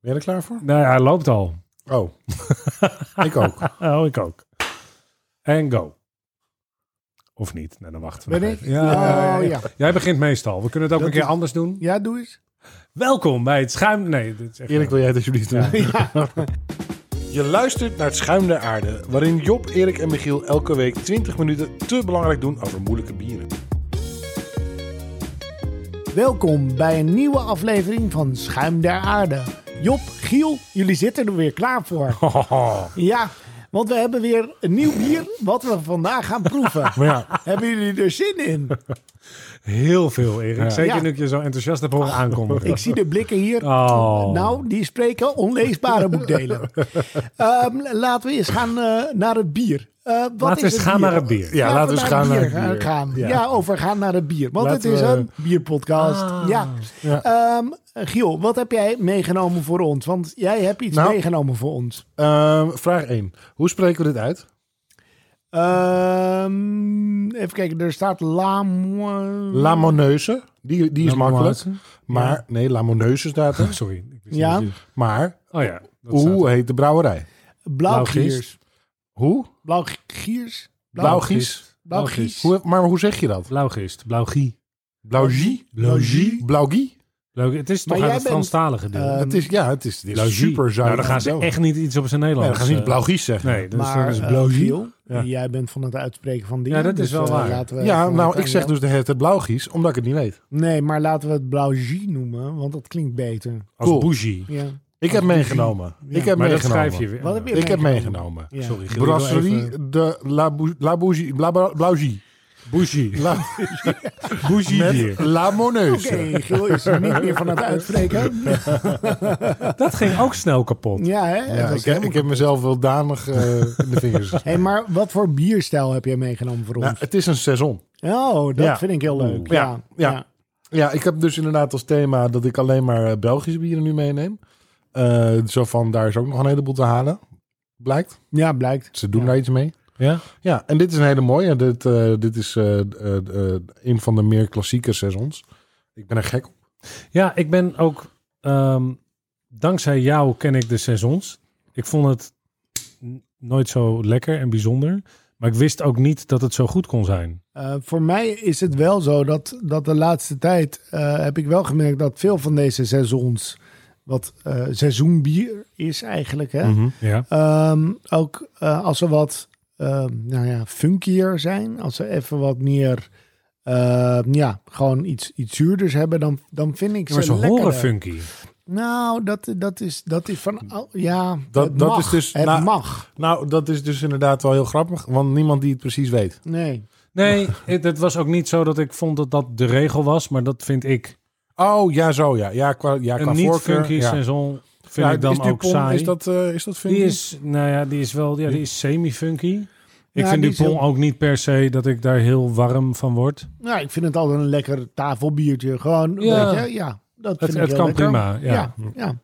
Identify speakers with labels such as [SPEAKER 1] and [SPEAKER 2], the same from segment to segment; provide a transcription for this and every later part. [SPEAKER 1] Ben je er klaar voor?
[SPEAKER 2] Nou ja, hij loopt al.
[SPEAKER 1] Oh, ik ook.
[SPEAKER 2] Oh, ik ook. En go. Of niet? Nou, dan wachten we.
[SPEAKER 3] Ben
[SPEAKER 2] nog
[SPEAKER 3] ik?
[SPEAKER 2] even. Ja, ja,
[SPEAKER 3] Oh
[SPEAKER 2] ja.
[SPEAKER 3] ja.
[SPEAKER 2] Jij begint meestal. We kunnen het ook
[SPEAKER 3] Dat
[SPEAKER 2] een keer
[SPEAKER 3] is-
[SPEAKER 2] anders doen.
[SPEAKER 3] Ja, doe eens.
[SPEAKER 2] Welkom bij het schuim. Nee, dit is echt.
[SPEAKER 1] Erik, wil jij het alsjeblieft doen? Je luistert naar het Schuim der Aarde, waarin Job, Erik en Michiel elke week 20 minuten te belangrijk doen over moeilijke bieren.
[SPEAKER 3] Welkom bij een nieuwe aflevering van Schuim der Aarde. Job, Giel, jullie zitten er weer klaar voor.
[SPEAKER 2] Oh.
[SPEAKER 3] Ja, want we hebben weer een nieuw bier wat we vandaag gaan proeven.
[SPEAKER 1] Ja,
[SPEAKER 3] Hebben jullie er zin in?
[SPEAKER 2] Heel veel, Erik. Zeker
[SPEAKER 3] Ja. Ah.
[SPEAKER 2] nu ik je zo enthousiast heb horen aankondigen.
[SPEAKER 3] Ik zie de blikken hier.
[SPEAKER 2] Oh.
[SPEAKER 3] Nou, die spreken onleesbare boekdelen. Ehm, laten we eens gaan eh, naar het bier. Eh, wat
[SPEAKER 2] Laten we
[SPEAKER 3] is
[SPEAKER 2] eens gaan naar het bier.
[SPEAKER 1] Ja, laten we eens gaan
[SPEAKER 3] bier
[SPEAKER 1] naar het bier.
[SPEAKER 3] gaan.
[SPEAKER 1] Ja.
[SPEAKER 3] Ja. over gaan naar het bier. Want
[SPEAKER 1] Laten
[SPEAKER 3] het is
[SPEAKER 1] we-
[SPEAKER 3] een bierpodcast.
[SPEAKER 2] Ah.
[SPEAKER 3] Ja.
[SPEAKER 1] Ja.
[SPEAKER 3] Ehm, Giel, wat heb jij meegenomen voor ons? Want jij hebt iets
[SPEAKER 1] Nou.
[SPEAKER 3] meegenomen voor ons.
[SPEAKER 1] Ehm, vraag 1. Hoe spreken we dit uit?
[SPEAKER 3] Ehm, even kijken, er staat Lam.
[SPEAKER 1] Lamoneuze. Die, die is makkelijk. Maar, nee, Lamoneuze staat er.
[SPEAKER 2] Sorry. ik wist
[SPEAKER 3] Ja.
[SPEAKER 2] niet dat je-
[SPEAKER 1] Maar,
[SPEAKER 2] Oh ja. dat staat
[SPEAKER 1] hoe
[SPEAKER 2] er.
[SPEAKER 1] heet de brouwerij?
[SPEAKER 3] Blauwgiers.
[SPEAKER 1] Hoe?
[SPEAKER 3] Blauwgiers.
[SPEAKER 1] Blauwgies.
[SPEAKER 3] Blauwgies.
[SPEAKER 1] Hoe, maar hoe zeg je dat?
[SPEAKER 2] Blauwgist. Blauwgie.
[SPEAKER 1] Blauwgie?
[SPEAKER 2] Blauwgie.
[SPEAKER 1] Blauwgie?
[SPEAKER 2] Blauw- Het is toch
[SPEAKER 3] Maar
[SPEAKER 2] uit
[SPEAKER 3] jij
[SPEAKER 2] het
[SPEAKER 3] bent,
[SPEAKER 2] Franstalige deel.
[SPEAKER 3] eh,
[SPEAKER 1] Het is, ja, het is, het is
[SPEAKER 2] Blauwgie.
[SPEAKER 1] super zuiver.
[SPEAKER 2] Nou, dan gaan ze echt niet iets op zijn
[SPEAKER 1] Nee,
[SPEAKER 2] Nederlands.
[SPEAKER 1] dan gaan ze niet
[SPEAKER 2] eh,
[SPEAKER 1] Blauwgies zeggen.
[SPEAKER 2] Nee, dus
[SPEAKER 3] maar
[SPEAKER 2] dat is
[SPEAKER 3] eh,
[SPEAKER 2] blauwgie.
[SPEAKER 3] Giel,
[SPEAKER 1] Ja.
[SPEAKER 3] jij bent van het uitspreken van dingen.
[SPEAKER 2] Ja, dat is
[SPEAKER 3] dus,
[SPEAKER 2] wel
[SPEAKER 3] eh,
[SPEAKER 2] waar.
[SPEAKER 3] laten we
[SPEAKER 1] Ja,
[SPEAKER 3] even-
[SPEAKER 1] nou, ik zeg dus de hele tijd Blauwgies, omdat ik het niet weet.
[SPEAKER 3] Nee, maar laten we het blauwgie noemen, want dat klinkt beter.
[SPEAKER 2] Als
[SPEAKER 1] Cool.
[SPEAKER 2] bougie.
[SPEAKER 3] Ja.
[SPEAKER 1] Ik heb meegenomen.
[SPEAKER 3] Ja.
[SPEAKER 1] Ik heb
[SPEAKER 2] Maar dat
[SPEAKER 1] meegenomen.
[SPEAKER 2] schrijf je weer.
[SPEAKER 3] Wat heb je
[SPEAKER 1] Ik heb
[SPEAKER 3] meegenomen?
[SPEAKER 1] meegenomen.
[SPEAKER 3] Ja.
[SPEAKER 2] Sorry, Giel, ik wil even-
[SPEAKER 1] Brasserie de La Bou- La Bougie. La Bou- Blauwgie.
[SPEAKER 2] Bougie.
[SPEAKER 1] La-
[SPEAKER 2] Bougie bier.
[SPEAKER 1] Met La Monneuse.
[SPEAKER 3] Oké, Giel is er niet meer van het uitspreken.
[SPEAKER 2] Dat ging ook snel kapot.
[SPEAKER 3] Ja, hè?
[SPEAKER 1] Ja,
[SPEAKER 3] Dat was
[SPEAKER 1] ik, heb-
[SPEAKER 3] helemaal-
[SPEAKER 1] ik heb mezelf wel danig eh, in de vingers.
[SPEAKER 3] Hey, maar wat voor bierstijl heb jij meegenomen voor
[SPEAKER 1] Nou,
[SPEAKER 3] ons?
[SPEAKER 1] het is een seizoen.
[SPEAKER 3] oh, dat
[SPEAKER 1] ja.
[SPEAKER 3] vind ik heel leuk.
[SPEAKER 1] Ja,
[SPEAKER 3] Ja,
[SPEAKER 1] ja.
[SPEAKER 3] ja.
[SPEAKER 1] Ja, ik heb dus inderdaad als thema dat ik alleen maar eh, Belgische bieren nu meeneem. Eh, zo van, daar is ook nog een heleboel te halen. Blijkt.
[SPEAKER 3] Ja, blijkt.
[SPEAKER 1] Ze doen
[SPEAKER 3] Ja.
[SPEAKER 1] daar iets mee.
[SPEAKER 2] Ja?
[SPEAKER 1] Ja, en dit is een hele mooie. Dit, eh, dit is eh, eh, eh, een van de meer klassieke seizoens. Ik ben er gek op.
[SPEAKER 2] Ja, ik ben ook... ehm, dankzij jou ken ik de seizoens. Ik vond het n- nooit zo lekker en bijzonder. Maar ik wist ook niet dat het zo goed kon zijn.
[SPEAKER 3] Eh, voor mij is het wel zo dat, dat de laatste tijd eh, heb ik wel gemerkt dat veel van deze seizoens, wat eh, seizoenbier is eigenlijk, hè?
[SPEAKER 1] Mhm.
[SPEAKER 2] Ja.
[SPEAKER 3] Ehm, ook eh, als ze wat ehm, nou ja, funkier zijn, als ze even wat meer, eh, ja, gewoon iets, iets zuurders hebben, dan, dan vind ik ze,
[SPEAKER 2] Maar ze
[SPEAKER 3] lekkerder.
[SPEAKER 2] horen funky.
[SPEAKER 3] Nou, dat, dat, is, dat is van, al- ja,
[SPEAKER 1] Dat-
[SPEAKER 3] het
[SPEAKER 1] dat
[SPEAKER 3] mag.
[SPEAKER 1] is dus-
[SPEAKER 3] het
[SPEAKER 1] nou-
[SPEAKER 3] mag.
[SPEAKER 1] Nou, dat is dus inderdaad wel heel grappig. Want niemand die het precies weet.
[SPEAKER 3] Nee.
[SPEAKER 2] Nee, het het was ook niet zo dat ik vond dat dat de regel was. Maar dat vind ik.
[SPEAKER 1] Oh, ja, zo ja. Ja, qua, ja, qua
[SPEAKER 2] een niet
[SPEAKER 1] voorkeur,
[SPEAKER 2] funky
[SPEAKER 1] ja.
[SPEAKER 2] seizoen vind
[SPEAKER 1] Ja,
[SPEAKER 2] ik dan
[SPEAKER 1] is
[SPEAKER 2] ook
[SPEAKER 1] Dupont,
[SPEAKER 2] saai.
[SPEAKER 1] Is dat, eh, is dat funky?
[SPEAKER 2] die is, nou ja, die is wel, ja, die is semi-funky. Ik
[SPEAKER 3] Ja,
[SPEAKER 2] vind
[SPEAKER 3] die is
[SPEAKER 2] Dupont
[SPEAKER 3] heel-
[SPEAKER 2] ook niet per se dat ik daar heel warm van word.
[SPEAKER 3] Nou, ik vind het altijd een lekker tafelbiertje. Gewoon,
[SPEAKER 2] Ja.
[SPEAKER 3] weet je, ja. Dat
[SPEAKER 2] Het,
[SPEAKER 3] vind ik
[SPEAKER 2] het
[SPEAKER 3] heel
[SPEAKER 2] kan
[SPEAKER 3] lekker.
[SPEAKER 2] prima. Ja.
[SPEAKER 3] Ja, ja.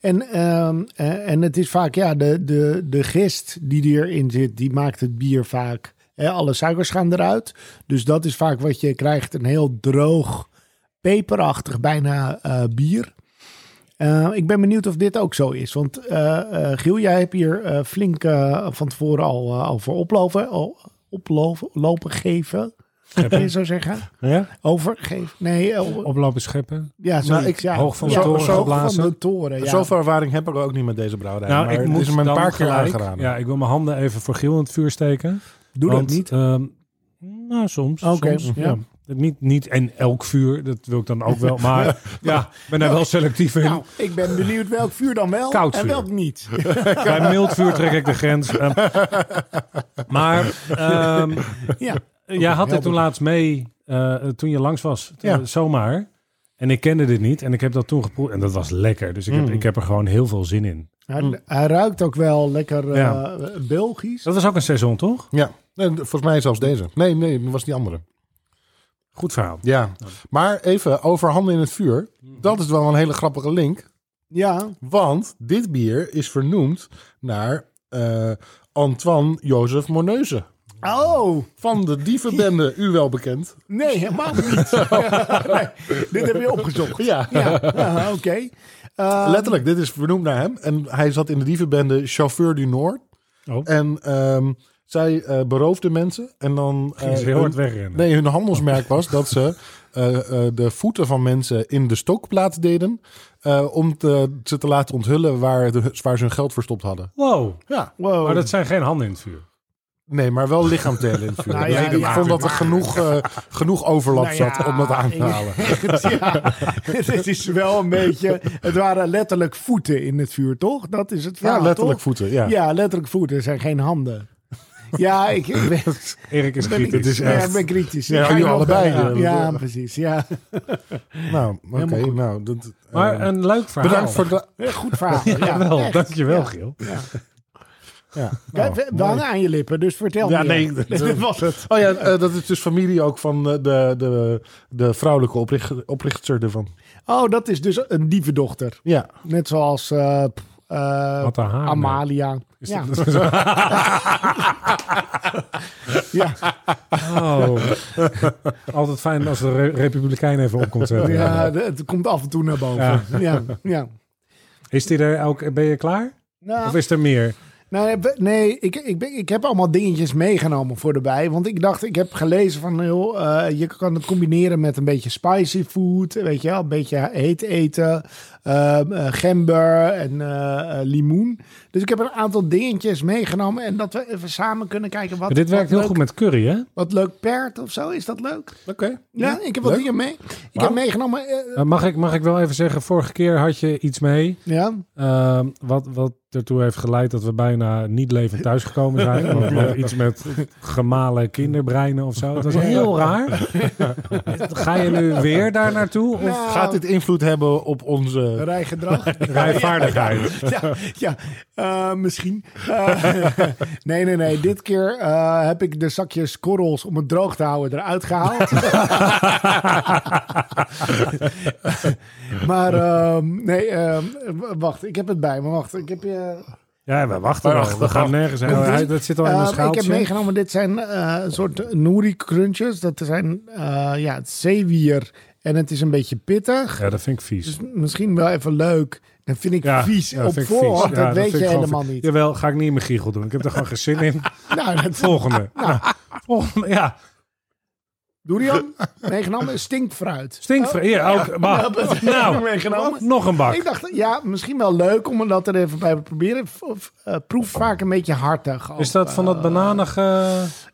[SPEAKER 3] En, ehm, eh, en het is vaak, ja, de, de, de gist die erin zit, die maakt het bier vaak. Hè, alle suikers gaan eruit. Dus dat is vaak wat je krijgt: een heel droog, peperachtig bijna eh, bier. Eh, ik ben benieuwd of dit ook zo is. Want eh, eh, Giel, jij hebt hier eh, flink eh, van tevoren al, eh, al voor oplopen, al oplopen lopen geven. Kun je zo zeggen?
[SPEAKER 2] Ja?
[SPEAKER 3] Overgeven? Nee, eh, o-
[SPEAKER 2] Oplopen scheppen.
[SPEAKER 3] ja,
[SPEAKER 1] Nou,
[SPEAKER 3] zoiets,
[SPEAKER 1] ik-
[SPEAKER 3] ja.
[SPEAKER 2] hoog van de
[SPEAKER 3] Ja,
[SPEAKER 2] toren
[SPEAKER 3] hoog van
[SPEAKER 2] geblazen.
[SPEAKER 3] de toren, ja.
[SPEAKER 1] Zoveel ervaring heb ik ook niet met deze brouwerij.
[SPEAKER 2] Nou,
[SPEAKER 1] maar
[SPEAKER 2] ik
[SPEAKER 1] het
[SPEAKER 2] moet
[SPEAKER 1] is hem een
[SPEAKER 2] dan
[SPEAKER 1] paar keer
[SPEAKER 2] gelijk-
[SPEAKER 1] aangeraden.
[SPEAKER 2] Ja, ik wil mijn handen even voor Giel in het vuur steken.
[SPEAKER 3] Doe
[SPEAKER 2] Want,
[SPEAKER 3] dat niet.
[SPEAKER 2] ehm, nou, soms.
[SPEAKER 3] Oké,
[SPEAKER 2] soms, ja.
[SPEAKER 3] ja.
[SPEAKER 2] Niet, niet en elk vuur, dat wil ik dan ook wel. Maar ja, ik ben daar wel selectief in.
[SPEAKER 3] Nou, ik ben benieuwd welk vuur dan wel
[SPEAKER 2] Koud
[SPEAKER 3] en
[SPEAKER 2] vuur.
[SPEAKER 3] welk niet.
[SPEAKER 2] Bij mild vuur trek ik de grens. Ehm, maar ehm,
[SPEAKER 3] Ja,
[SPEAKER 2] jij had dit
[SPEAKER 3] helder.
[SPEAKER 2] toen laatst mee, eh, toen je langs was, eh,
[SPEAKER 1] Ja.
[SPEAKER 2] zomaar. En ik kende dit niet en ik heb dat toen geproefd. En dat was lekker, dus ik, heb, ik heb er gewoon heel veel zin in.
[SPEAKER 3] hij, hij ruikt ook wel lekker eh,
[SPEAKER 2] Ja.
[SPEAKER 3] Belgisch.
[SPEAKER 2] Dat was ook een seizoen, toch?
[SPEAKER 1] Ja, nee, volgens mij zelfs deze. Nee, nee, dat was die andere.
[SPEAKER 2] Goed verhaal.
[SPEAKER 1] Ja, maar even over handen in het vuur. Dat is wel een hele grappige link.
[SPEAKER 3] Ja,
[SPEAKER 1] Want dit bier is vernoemd naar eh, Antoine Jozef Moneuze.
[SPEAKER 3] oh,
[SPEAKER 1] Van de dievenbende, u wel bekend.
[SPEAKER 3] nee, helemaal niet. Nee, dit heb je opgezocht.
[SPEAKER 1] Ja.
[SPEAKER 3] Ja, ah, oké. Ehm,
[SPEAKER 1] Letterlijk, dit is vernoemd naar hem. En hij zat in de dievenbende Chauffeur du Noord.
[SPEAKER 3] Eh,
[SPEAKER 2] Oh.
[SPEAKER 1] En ehm, zij eh, beroofde mensen. En dan. eh,
[SPEAKER 2] Gingen ze dus heel hard
[SPEAKER 1] hun,
[SPEAKER 2] wegrennen.
[SPEAKER 1] nee, hun handelsmerk was dat ze eh, eh, de voeten van mensen in de stokplaats deden. eh, om te, ze te laten onthullen waar, de, waar ze hun geld verstopt hadden.
[SPEAKER 2] Wow.
[SPEAKER 3] Oh.
[SPEAKER 1] Ja.
[SPEAKER 3] wow.
[SPEAKER 2] Maar dat zijn geen handen in het vuur.
[SPEAKER 1] Nee, maar wel lichaamdelen in het vuur.
[SPEAKER 3] Nou
[SPEAKER 1] Dus
[SPEAKER 3] ja,
[SPEAKER 1] ik
[SPEAKER 3] ja,
[SPEAKER 1] vond dat er
[SPEAKER 3] maar-
[SPEAKER 1] genoeg, eh, genoeg overlap
[SPEAKER 3] Nou ja,
[SPEAKER 1] zat om dat aan te
[SPEAKER 3] ik-
[SPEAKER 1] halen.
[SPEAKER 3] ja, het is wel een beetje. Het waren letterlijk voeten in het vuur, toch? Dat is het verhaal.
[SPEAKER 1] Ja, letterlijk
[SPEAKER 3] toch?
[SPEAKER 1] voeten. Ja.
[SPEAKER 3] Ja, letterlijk voeten. Er zijn geen handen. Ja, ik, ik ben,
[SPEAKER 2] Erik is kritisch.
[SPEAKER 1] dit is
[SPEAKER 3] ja,
[SPEAKER 1] echt-
[SPEAKER 3] ik ben kritisch.
[SPEAKER 1] Ja,
[SPEAKER 3] Ik ga
[SPEAKER 1] jullie
[SPEAKER 3] je ook
[SPEAKER 1] allebei,
[SPEAKER 3] wel-
[SPEAKER 1] eh,
[SPEAKER 3] Ja,
[SPEAKER 1] dat-
[SPEAKER 3] precies. Ja.
[SPEAKER 1] Nou, oké.
[SPEAKER 3] Helemaal goed.
[SPEAKER 1] nou, dat,
[SPEAKER 2] Maar
[SPEAKER 1] eh,
[SPEAKER 2] een leuk verhaal.
[SPEAKER 1] bedankt voor de.
[SPEAKER 3] Ja, eh, Goed verhaal. Ja,
[SPEAKER 2] wel,
[SPEAKER 3] echt.
[SPEAKER 2] dankjewel
[SPEAKER 3] Ja.
[SPEAKER 2] Giel.
[SPEAKER 1] Ja,
[SPEAKER 3] Ja,
[SPEAKER 1] nou,
[SPEAKER 3] we- we
[SPEAKER 1] mooi.
[SPEAKER 3] hangen aan je lippen, dus vertel
[SPEAKER 1] Ja,
[SPEAKER 3] me.
[SPEAKER 1] nee, dat-
[SPEAKER 3] dat was het.
[SPEAKER 1] Oh ja, eh, dat is dus familie ook van eh, de, de, de vrouwelijke oprichter, oprichter ervan.
[SPEAKER 3] Oh, dat is dus een dievendochter.
[SPEAKER 1] Ja.
[SPEAKER 3] Net zoals eh, pff, eh,
[SPEAKER 2] Wat een haar,
[SPEAKER 3] Amalia. Ja. ja.
[SPEAKER 2] Oh. Altijd fijn als de re- Republikein even op komt zetten.
[SPEAKER 3] Ja, de- het komt af en toe naar boven. Ja, ja.
[SPEAKER 2] Is die er elk, ben je klaar?
[SPEAKER 3] Nou,
[SPEAKER 2] Of is er meer?
[SPEAKER 3] nee, we- nee ik, ik, ben, ik heb allemaal dingetjes meegenomen voor erbij. Want ik dacht, ik heb gelezen van, joh, eh, je kan het combineren met een beetje spicy food. Weet je wel, een beetje heet eten. ehm, eh, gember en eh, eh, limoen. Dus ik heb een aantal dingetjes meegenomen. En dat we even samen kunnen kijken wat,
[SPEAKER 2] Maar dit werkt
[SPEAKER 3] wat,
[SPEAKER 2] heel
[SPEAKER 3] leuk, Eh,
[SPEAKER 2] goed met curry, hè?
[SPEAKER 3] wat leuk paart of zo. Is dat leuk?
[SPEAKER 1] Oké.
[SPEAKER 3] Ja, ik heb wat
[SPEAKER 1] leuk.
[SPEAKER 3] dingen mee. Ik
[SPEAKER 1] Wauw.
[SPEAKER 3] heb meegenomen... eh,
[SPEAKER 2] Eh, mag, ik, mag ik wel even zeggen, vorige keer had je iets mee...
[SPEAKER 3] ja,
[SPEAKER 2] ehm, wat, wat ertoe heeft geleid dat we bijna niet levend thuisgekomen zijn. Want we hadden iets met gemalen kinderbreinen of zo. Het was heel raar. Ga je nu weer daar naartoe? Of
[SPEAKER 3] Nou,
[SPEAKER 1] Gaat dit invloed hebben op onze.
[SPEAKER 3] rijgedrag.
[SPEAKER 2] rijvaardigheid?
[SPEAKER 3] ja, ja eh, misschien. Eh, nee, nee, nee. Dit keer eh, heb ik de zakjes korrels om het droog te houden eruit gehaald. maar ehm, nee, ehm, w- wacht. Ik heb het bij me. Wacht, ik heb je...
[SPEAKER 2] Ja, we wachten
[SPEAKER 1] Wacht,
[SPEAKER 2] nog. We
[SPEAKER 1] wacht.
[SPEAKER 2] gaan nergens heen.
[SPEAKER 3] Dit-
[SPEAKER 2] Hij- Dat zit al in
[SPEAKER 3] Eh,
[SPEAKER 2] een
[SPEAKER 3] ik heb
[SPEAKER 2] schaaltje.
[SPEAKER 3] meegenomen, dit zijn eh, een soort noori crunches. Dat zijn eh, ja, het zeewier en het is een beetje pittig.
[SPEAKER 2] Ja, dat vind ik vies.
[SPEAKER 3] Dus misschien wel even leuk. Dat vind ik
[SPEAKER 2] Ja,
[SPEAKER 3] vies
[SPEAKER 2] ja,
[SPEAKER 3] op
[SPEAKER 2] vind ik vies.
[SPEAKER 3] voorhand.
[SPEAKER 2] Ja,
[SPEAKER 3] dat weet
[SPEAKER 2] vind
[SPEAKER 3] je
[SPEAKER 2] ik gewoon
[SPEAKER 3] helemaal
[SPEAKER 2] vies.
[SPEAKER 3] niet.
[SPEAKER 2] Jawel, ga ik niet in mijn giegel doen. Ik heb er gewoon geen zin in.
[SPEAKER 3] Nou, dat,
[SPEAKER 2] Volgende. Ja. Volgende, ja.
[SPEAKER 3] Durian meegenomen, stinkfruit.
[SPEAKER 2] Stinkvrij. Ja, ook. Maar, nou,
[SPEAKER 3] meegenomen.
[SPEAKER 2] nog een
[SPEAKER 3] Ik
[SPEAKER 2] bak.
[SPEAKER 3] dacht, ja, misschien wel leuk om dat er even bij te proberen. Of, of, eh, proef vaak een beetje hartig. ook.
[SPEAKER 2] Is dat van dat bananige...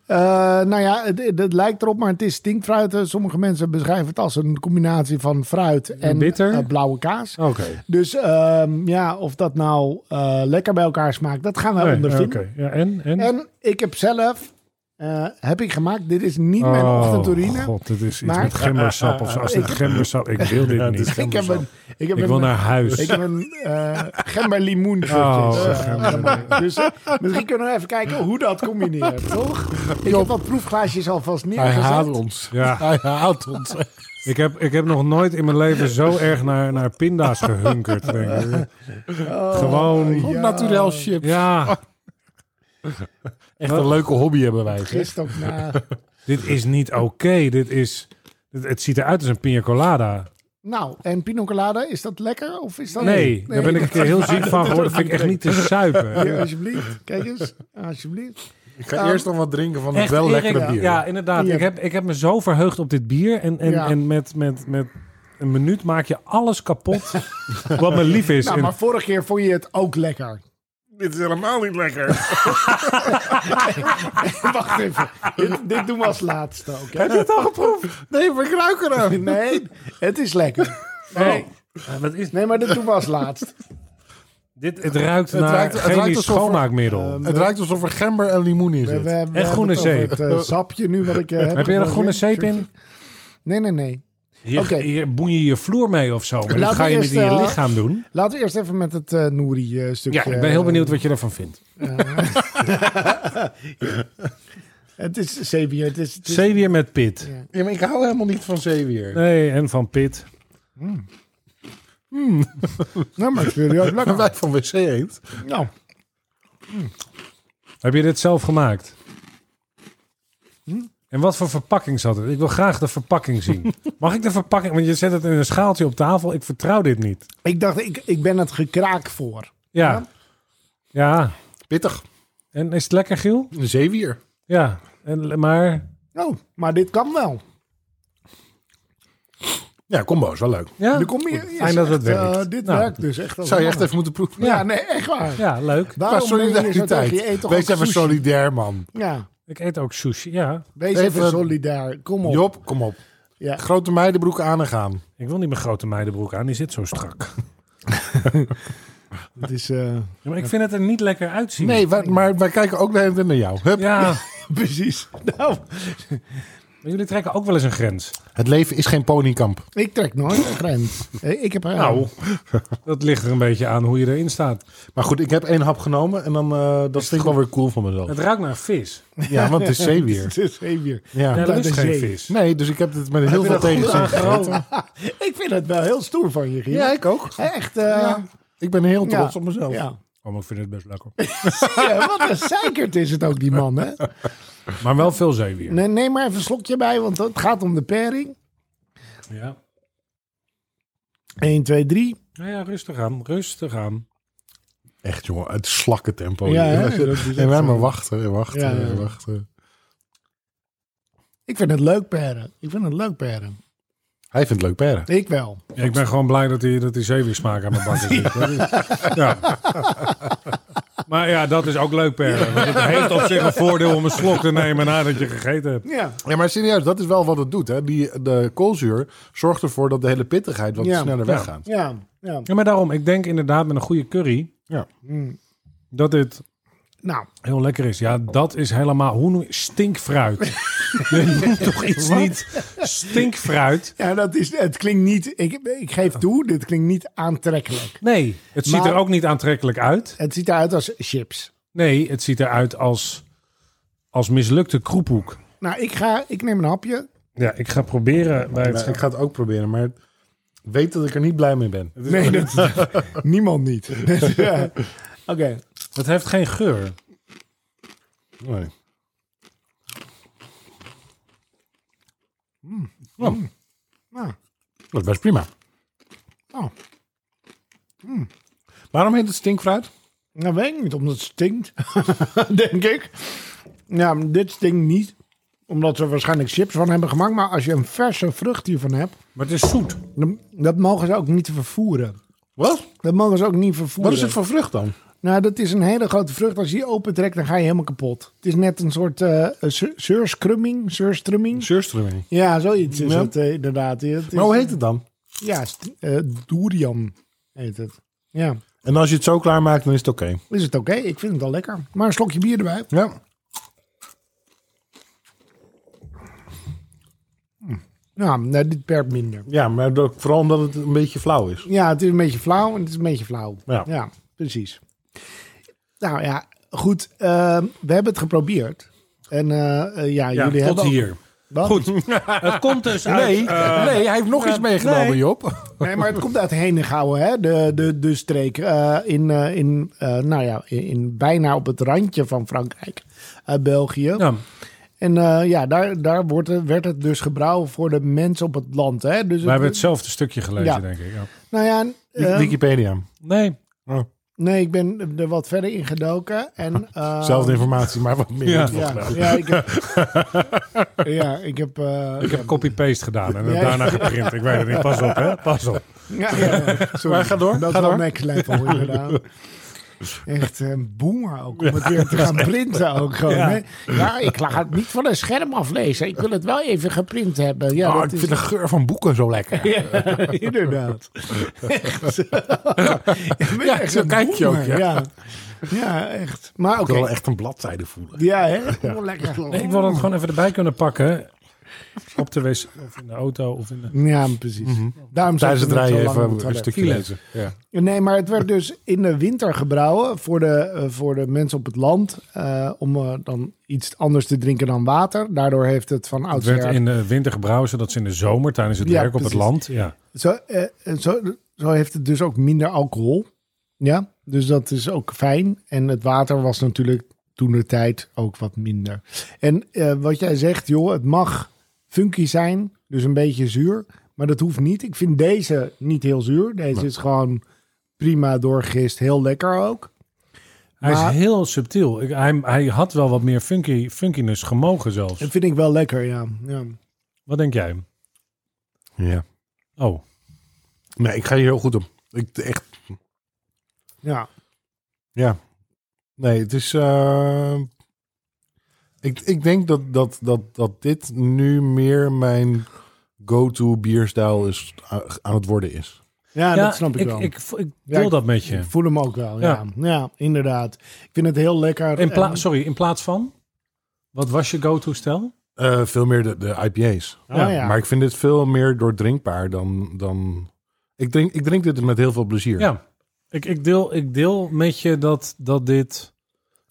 [SPEAKER 3] Eh, nou ja, het, het- het lijkt erop, maar het is stinkfruit. Eh, Sommige mensen beschrijven het als een combinatie van fruit en
[SPEAKER 2] bitter?
[SPEAKER 3] eh, blauwe kaas.
[SPEAKER 2] Oké.
[SPEAKER 3] Dus ehm, ja, of dat nou eh, lekker bij elkaar smaakt, dat gaan wij
[SPEAKER 2] Nee,
[SPEAKER 3] ondervinden.
[SPEAKER 2] oké. Ja, en? En?
[SPEAKER 3] En ik heb zelf, eh, heb ik gemaakt, dit is niet mijn
[SPEAKER 2] Oh,
[SPEAKER 3] ochtendurine.
[SPEAKER 2] god, dit is iets
[SPEAKER 3] Maar-
[SPEAKER 2] met gembersap of zo. Als dit gembersap... Ik wil dit
[SPEAKER 1] Ja, dit
[SPEAKER 2] niet.
[SPEAKER 1] is
[SPEAKER 3] Ik heb een, ik heb
[SPEAKER 2] Ik
[SPEAKER 3] een,
[SPEAKER 2] wil naar huis.
[SPEAKER 3] Ik heb een eh gember limoen
[SPEAKER 2] Oh, gember
[SPEAKER 3] Dus misschien kunnen we even kijken hoe dat combineert, toch? Ik heb wat proefglaasjes alvast
[SPEAKER 1] Hij haat
[SPEAKER 3] neergezet.
[SPEAKER 1] ons.
[SPEAKER 2] Ja,
[SPEAKER 1] Hij haat ons.
[SPEAKER 2] ik heb, ik heb nog nooit in mijn leven zo erg naar, naar pinda's gehunkerd. Denk ik.
[SPEAKER 3] Oh.
[SPEAKER 2] Gewoon...
[SPEAKER 1] Ja. Naturel chips.
[SPEAKER 2] Ja,
[SPEAKER 1] Echt een leuke hobby hebben wij. zeg.
[SPEAKER 3] Gisteren ook na.
[SPEAKER 2] Dit is niet oké. Dit is. dit- het ziet eruit als een pina colada.
[SPEAKER 3] Nou, en pino colada, is dat lekker? Of is Oh, dat
[SPEAKER 2] Nee, daar ben ik een keer heel ziek van geworden. Vind ik echt niet te suipen.
[SPEAKER 3] Hier, alsjeblieft. Kijk eens. Alsjeblieft.
[SPEAKER 1] Ik ga eerst nog wat drinken van het
[SPEAKER 2] Echt,
[SPEAKER 1] wel
[SPEAKER 2] Erik,
[SPEAKER 1] lekkere bier.
[SPEAKER 2] Ja, inderdaad.
[SPEAKER 3] Ja.
[SPEAKER 2] Ik heb, ik heb me zo verheugd op dit bier. En, en,
[SPEAKER 3] Ja.
[SPEAKER 2] en met, met, met een minuut maak je alles kapot wat me lief is.
[SPEAKER 3] Nou,
[SPEAKER 2] En-
[SPEAKER 3] maar vorige keer vond je het ook lekker.
[SPEAKER 1] Dit is helemaal niet lekker.
[SPEAKER 3] Wacht even. Dit, dit doen we als laatste ook. hè?
[SPEAKER 1] Heb je het al geproefd? Nee, maar ik ruik er aan.
[SPEAKER 3] Nee, het is lekker.
[SPEAKER 2] Nee. Eh, wat is,
[SPEAKER 3] Nee, maar dit doen we als laatst.
[SPEAKER 2] dit, het ruikt eh,
[SPEAKER 1] Het
[SPEAKER 2] naar
[SPEAKER 1] ruikt- het ruikt
[SPEAKER 2] chemisch
[SPEAKER 1] alsof er-
[SPEAKER 2] schoonmaakmiddel.
[SPEAKER 1] Het ruikt alsof er gember en limoen in
[SPEAKER 3] Ehm, We,
[SPEAKER 1] zit.
[SPEAKER 3] we, we
[SPEAKER 2] dus En groene
[SPEAKER 3] hebben het
[SPEAKER 2] zeep.
[SPEAKER 3] over Het eh, sapje nu wat ik eh, heb.
[SPEAKER 2] heb je er een groene
[SPEAKER 3] geprobeerd.
[SPEAKER 2] zeep in?
[SPEAKER 3] Nee, nee, nee.
[SPEAKER 2] Hier,
[SPEAKER 3] Oké.
[SPEAKER 2] hier boen je je vloer mee of zo. Maar dat
[SPEAKER 3] Laten
[SPEAKER 2] ga
[SPEAKER 3] we
[SPEAKER 2] je
[SPEAKER 3] eerst,
[SPEAKER 2] niet in je
[SPEAKER 3] eh,
[SPEAKER 2] lichaam doen. Dus,
[SPEAKER 3] Laten we eerst even met het eh Nouri eh, stukje.
[SPEAKER 2] Ja, ik ben heel benieuwd wat je ervan vindt.
[SPEAKER 3] Het is zeepje. Het is, het is-
[SPEAKER 2] Zeewier met pit.
[SPEAKER 1] Ja, maar ik hou helemaal niet van zeewier.
[SPEAKER 2] Nee, en van Pit.
[SPEAKER 3] Nou, maar ik vind het ook
[SPEAKER 1] Maar
[SPEAKER 3] lekker.
[SPEAKER 1] wij van wc eend.
[SPEAKER 3] Nou,
[SPEAKER 2] Heb je dit zelf gemaakt? En wat voor verpakking zat het? Ik wil graag de verpakking zien. Mag ik de verpakking? Want je zet het in een schaaltje op tafel. Ik vertrouw dit niet.
[SPEAKER 3] Ik dacht, ik, ik ben het gekraak voor.
[SPEAKER 2] Ja. Ja.
[SPEAKER 1] Pittig.
[SPEAKER 2] En is het lekker, Giel?
[SPEAKER 1] Een zeewier.
[SPEAKER 2] Ja. En, maar
[SPEAKER 3] Oh, maar dit kan wel.
[SPEAKER 1] Ja, combo is wel leuk.
[SPEAKER 2] ja.
[SPEAKER 3] Nu kom je,
[SPEAKER 2] Goed,
[SPEAKER 3] je
[SPEAKER 2] Fijn dat
[SPEAKER 3] zegt,
[SPEAKER 2] het werkt.
[SPEAKER 3] eh, dit
[SPEAKER 2] Nou,
[SPEAKER 3] werkt dus echt. als
[SPEAKER 1] Zou je
[SPEAKER 3] een
[SPEAKER 1] echt
[SPEAKER 3] mannen.
[SPEAKER 1] even moeten proeven.
[SPEAKER 3] Ja, nee, echt waar.
[SPEAKER 2] Ja, leuk.
[SPEAKER 1] Qua
[SPEAKER 3] Daarom ben je zo tegen
[SPEAKER 1] solidariteit.
[SPEAKER 3] je eet toch
[SPEAKER 1] Wees
[SPEAKER 3] ook
[SPEAKER 1] even
[SPEAKER 3] sushi?
[SPEAKER 1] solidair, man.
[SPEAKER 3] Ja,
[SPEAKER 2] Ik eet ook sushi. Ja.
[SPEAKER 3] wees
[SPEAKER 1] Even-
[SPEAKER 3] even, solidair. Kom op.
[SPEAKER 1] Job, kom op.
[SPEAKER 3] Ja.
[SPEAKER 1] Grote meidenbroeken aan en gaan.
[SPEAKER 2] Ik wil niet mijn grote meidenbroek aan. Die zit zo strak.
[SPEAKER 3] Het is eh,
[SPEAKER 2] Ja, maar ik vind het er niet lekker uitzien.
[SPEAKER 1] Nee, wij- maar wij kijken ook de hele tijd naar jou. Hup.
[SPEAKER 2] Ja.
[SPEAKER 3] precies. Nou,
[SPEAKER 2] Maar jullie trekken ook wel eens een grens.
[SPEAKER 1] Het leven is geen ponykamp.
[SPEAKER 3] ik trek nooit een grens. Eh, Ik heb eh,
[SPEAKER 2] Nou, dat ligt er een beetje aan hoe je erin staat.
[SPEAKER 1] Maar goed, ik heb één hap genomen en dan, eh, dat vind ik wel weer cool van mezelf.
[SPEAKER 2] Het ruikt naar vis.
[SPEAKER 1] Ja, want het is zeewier.
[SPEAKER 3] het is even-
[SPEAKER 1] Ja.
[SPEAKER 2] Ja,
[SPEAKER 3] dat
[SPEAKER 2] dat is
[SPEAKER 3] is
[SPEAKER 2] geen
[SPEAKER 3] zee.
[SPEAKER 2] vis.
[SPEAKER 1] Nee, dus ik heb het met heel
[SPEAKER 2] Heb je
[SPEAKER 1] veel
[SPEAKER 2] dat goed
[SPEAKER 1] tegenzin gegeten.
[SPEAKER 3] eh, Ik vind het wel heel stoer van je, Giel.
[SPEAKER 1] Ja, ik ook.
[SPEAKER 3] Echt, eh,
[SPEAKER 1] Ja. Ik ben heel
[SPEAKER 3] ja.
[SPEAKER 1] trots op mezelf.
[SPEAKER 3] ja.
[SPEAKER 2] Oh, maar ik vind het best lekker.
[SPEAKER 3] Ja, wat een zeikert is het ook, die man, hè?
[SPEAKER 2] Maar wel veel zeewier.
[SPEAKER 3] Nee, neem maar even een slokje bij, want het gaat om de pairing.
[SPEAKER 2] Ja.
[SPEAKER 3] 1, 2, 3.
[SPEAKER 2] Nou ja, rustig aan. Rustig aan.
[SPEAKER 1] Echt jongen, het slakken tempo.
[SPEAKER 3] Ja, hè?
[SPEAKER 1] Ja,
[SPEAKER 3] Dat is echt
[SPEAKER 1] en wij
[SPEAKER 3] zo.
[SPEAKER 1] maar wachten en wachten
[SPEAKER 3] Ja, ja.
[SPEAKER 1] en wachten.
[SPEAKER 3] Ik vind het leuk peren. Ik vind het leuk peren.
[SPEAKER 1] Hij vindt het leuk peren.
[SPEAKER 3] Ik wel.
[SPEAKER 2] Ja, ik ben gewoon blij dat die, dat die zeewiersmaak aan mijn bank is. Dat is- Ja. Maar ja, dat is ook leuk, Per. Want het heeft op zich een voordeel om een slok te nemen nadat je gegeten hebt.
[SPEAKER 3] Ja.
[SPEAKER 1] Ja, maar serieus, dat is wel wat het doet. Hè? Die, de koolzuur zorgt ervoor dat de hele pittigheid wat
[SPEAKER 3] Ja.
[SPEAKER 1] sneller
[SPEAKER 2] Ja.
[SPEAKER 1] weggaat.
[SPEAKER 3] Ja. ja.
[SPEAKER 2] Ja, maar daarom, ik denk inderdaad met een goede curry
[SPEAKER 3] Hm.
[SPEAKER 2] dat dit
[SPEAKER 3] Nou,
[SPEAKER 2] heel lekker is. Ja, dat is helemaal... Hoe noem je- Stinkfruit. Je noemt toch iets niet stinkfruit?
[SPEAKER 3] ja, dat is, het klinkt niet... Ik, ik geef toe, dit klinkt niet aantrekkelijk.
[SPEAKER 2] Nee, het ziet
[SPEAKER 3] Maar-
[SPEAKER 2] er ook niet aantrekkelijk uit.
[SPEAKER 3] Het ziet eruit als chips.
[SPEAKER 2] Nee, het ziet eruit als, als mislukte kroephoek.
[SPEAKER 3] Nou, ik, ga, ik neem een hapje.
[SPEAKER 2] Ja, ik ga proberen bij
[SPEAKER 1] Dus Ik ga het ook proberen, maar weet dat ik er niet blij mee ben.
[SPEAKER 3] Nee, dat, niemand niet. Dus, eh, Ja. Oké.
[SPEAKER 2] Het heeft geen geur.
[SPEAKER 1] Nee.
[SPEAKER 3] Nou,
[SPEAKER 1] Dat is best prima.
[SPEAKER 3] Oh.
[SPEAKER 1] Waarom heet het stinkfruit?
[SPEAKER 3] dat nou weet ik niet, omdat het stinkt. Denk ik. Ja, maar dit stinkt niet. Omdat ze waarschijnlijk chips van hebben gemaakt. Maar als je een verse vrucht hiervan hebt...
[SPEAKER 2] Maar het is zoet.
[SPEAKER 3] dan- Dat mogen ze ook niet vervoeren.
[SPEAKER 1] Wat?
[SPEAKER 3] Dat mogen ze ook niet vervoeren.
[SPEAKER 1] Wat is het voor vrucht dan?
[SPEAKER 3] Nou, dat is een hele grote vrucht. Als je die opentrekt, dan ga je helemaal kapot. Het is net een soort eh zeur- zeurskrumming, zeurstrumming.
[SPEAKER 1] Zuurströmming.
[SPEAKER 3] Ja, zoiets is
[SPEAKER 1] Ja.
[SPEAKER 3] het eh, inderdaad. Het is,
[SPEAKER 1] Maar hoe heet het dan?
[SPEAKER 3] Ja, st- eh, durian heet het. Ja,
[SPEAKER 1] En als je het zo klaarmaakt, dan is het oké.
[SPEAKER 3] is het oké? Ik vind het al lekker. Maar een slokje bier erbij.
[SPEAKER 1] Ja.
[SPEAKER 3] Nou, nou, dit perkt minder.
[SPEAKER 1] ja, maar dat- vooral omdat het een beetje flauw is.
[SPEAKER 3] Ja, het is een beetje flauw en het is een beetje flauw.
[SPEAKER 1] Ja.
[SPEAKER 3] precies. Nou ja, goed. eh, we hebben het geprobeerd. En eh, eh, ja,
[SPEAKER 2] Ja,
[SPEAKER 3] jullie
[SPEAKER 2] tot
[SPEAKER 3] hebben... ook-
[SPEAKER 2] hier.
[SPEAKER 3] Wat?
[SPEAKER 2] Goed. het komt dus uit...
[SPEAKER 1] Nee,
[SPEAKER 2] eh,
[SPEAKER 1] nee hij heeft nog iets meegenomen,
[SPEAKER 2] nee.
[SPEAKER 1] Job.
[SPEAKER 3] Nee, maar het komt uit Henegouwen, hè? De, de, de streek eh, in, eh, in, eh, nou ja, in, in bijna op het randje van Frankrijk, eh, België.
[SPEAKER 2] ja,
[SPEAKER 3] En eh, ja, daar, daar wordt, er- werd het dus gebrouwen voor de mensen op het land. Hè? Dus
[SPEAKER 2] we hebben hetzelfde stukje gelezen,
[SPEAKER 3] Ja.
[SPEAKER 2] denk ik. Ja.
[SPEAKER 3] Nou ja, eh,
[SPEAKER 1] Wikipedia.
[SPEAKER 2] Nee.
[SPEAKER 3] nee, ik ben er wat verder in gedoken. En, eh,
[SPEAKER 1] Zelfde informatie, maar wat meer.
[SPEAKER 2] Ja.
[SPEAKER 1] info.
[SPEAKER 3] ja, ja, ik heb... ja, ik heb... eh,
[SPEAKER 2] Ik heb copy-paste gedaan en het
[SPEAKER 3] Ja.
[SPEAKER 2] daarna geprint. Ik weet het niet. Pas op, hè. Pas op.
[SPEAKER 3] Ja, ja, ja. Sorry.
[SPEAKER 1] Maar ga door,
[SPEAKER 3] Dat
[SPEAKER 1] ga
[SPEAKER 3] is wel
[SPEAKER 1] door.
[SPEAKER 3] next level inderdaad. Echt een boomer ook, om het weer te gaan printen ook gewoon.
[SPEAKER 2] Ja.
[SPEAKER 3] Ja, ja ik ga het niet van een scherm aflezen. Ik wil het wel even geprint hebben. Ja,
[SPEAKER 1] Oh,
[SPEAKER 3] dat
[SPEAKER 1] ik
[SPEAKER 3] is-
[SPEAKER 1] vind de geur van boeken zo lekker.
[SPEAKER 3] Ja, inderdaad. Echt. Ik ben echt
[SPEAKER 1] zo
[SPEAKER 3] een
[SPEAKER 1] kijk je ook,
[SPEAKER 3] boomer, Ja. ja, echt. Maar
[SPEAKER 1] Ik
[SPEAKER 3] oké.
[SPEAKER 1] wil wel echt een bladzijde voelen.
[SPEAKER 3] Ja, hè? Oh, lekker.
[SPEAKER 2] Nee, ik wil het gewoon even erbij kunnen pakken. Op de wc of in de auto of in de...
[SPEAKER 3] Ja, precies. Daarom zat
[SPEAKER 1] Mhm. Tijdens het
[SPEAKER 3] ik net zo
[SPEAKER 1] rijden
[SPEAKER 3] lang op het
[SPEAKER 1] even een
[SPEAKER 3] toilet.
[SPEAKER 1] stukje lezen. Ja.
[SPEAKER 3] Nee, maar het werd dus in de winter gebrouwen voor de, eh, voor de mensen op het land. eh, om eh, dan iets anders te drinken dan water. Daardoor heeft het van
[SPEAKER 2] Het werd
[SPEAKER 3] oudsher...
[SPEAKER 2] in de winter gebrouwen, zodat ze in de zomer tijdens het
[SPEAKER 3] Ja,
[SPEAKER 2] werk op het
[SPEAKER 3] precies.
[SPEAKER 2] land... Ja.
[SPEAKER 3] Zo, eh, eh, zo, zo heeft het dus ook minder alcohol. Ja, dus dat is ook fijn. En het water was natuurlijk toen de tijd ook wat minder. En eh, wat jij zegt, joh, het mag funky zijn, dus een beetje zuur. Maar dat hoeft niet. Ik vind deze niet heel zuur. Deze is gewoon prima doorgist, heel lekker ook.
[SPEAKER 2] Hij
[SPEAKER 3] Maar-
[SPEAKER 2] is heel subtiel. Ik, hij, hij had wel wat meer funky, funkiness gemogen zelfs.
[SPEAKER 3] Dat vind ik wel lekker, ja. ja.
[SPEAKER 2] Wat denk jij?
[SPEAKER 1] Ja.
[SPEAKER 2] Oh,
[SPEAKER 1] Nee, ik ga hier heel goed op. Ik, echt,
[SPEAKER 3] ja.
[SPEAKER 1] ja. Nee, het is... eh, ik, ik denk dat, dat, dat, dat dit nu meer mijn go-to bierstijl is, aan het worden is.
[SPEAKER 3] Ja, dat snap ik,
[SPEAKER 2] ik
[SPEAKER 3] wel.
[SPEAKER 2] Ik, ik,
[SPEAKER 3] Ja,
[SPEAKER 2] deel
[SPEAKER 3] ik-
[SPEAKER 2] dat met je.
[SPEAKER 3] Ik voel hem ook wel, ja. ja. inderdaad. Ik vind het heel lekker.
[SPEAKER 2] In pla-
[SPEAKER 3] En-
[SPEAKER 2] sorry, in plaats van? Wat was je go-to-stel?
[SPEAKER 1] Eh, veel meer de, de IPA's.
[SPEAKER 3] Ah, ja.
[SPEAKER 1] Maar ik vind dit veel meer doordrinkbaar dan... dan ik, drink, ik drink dit met heel veel plezier.
[SPEAKER 2] Ja, ik, ik, deel, ik deel met je dat, dat dit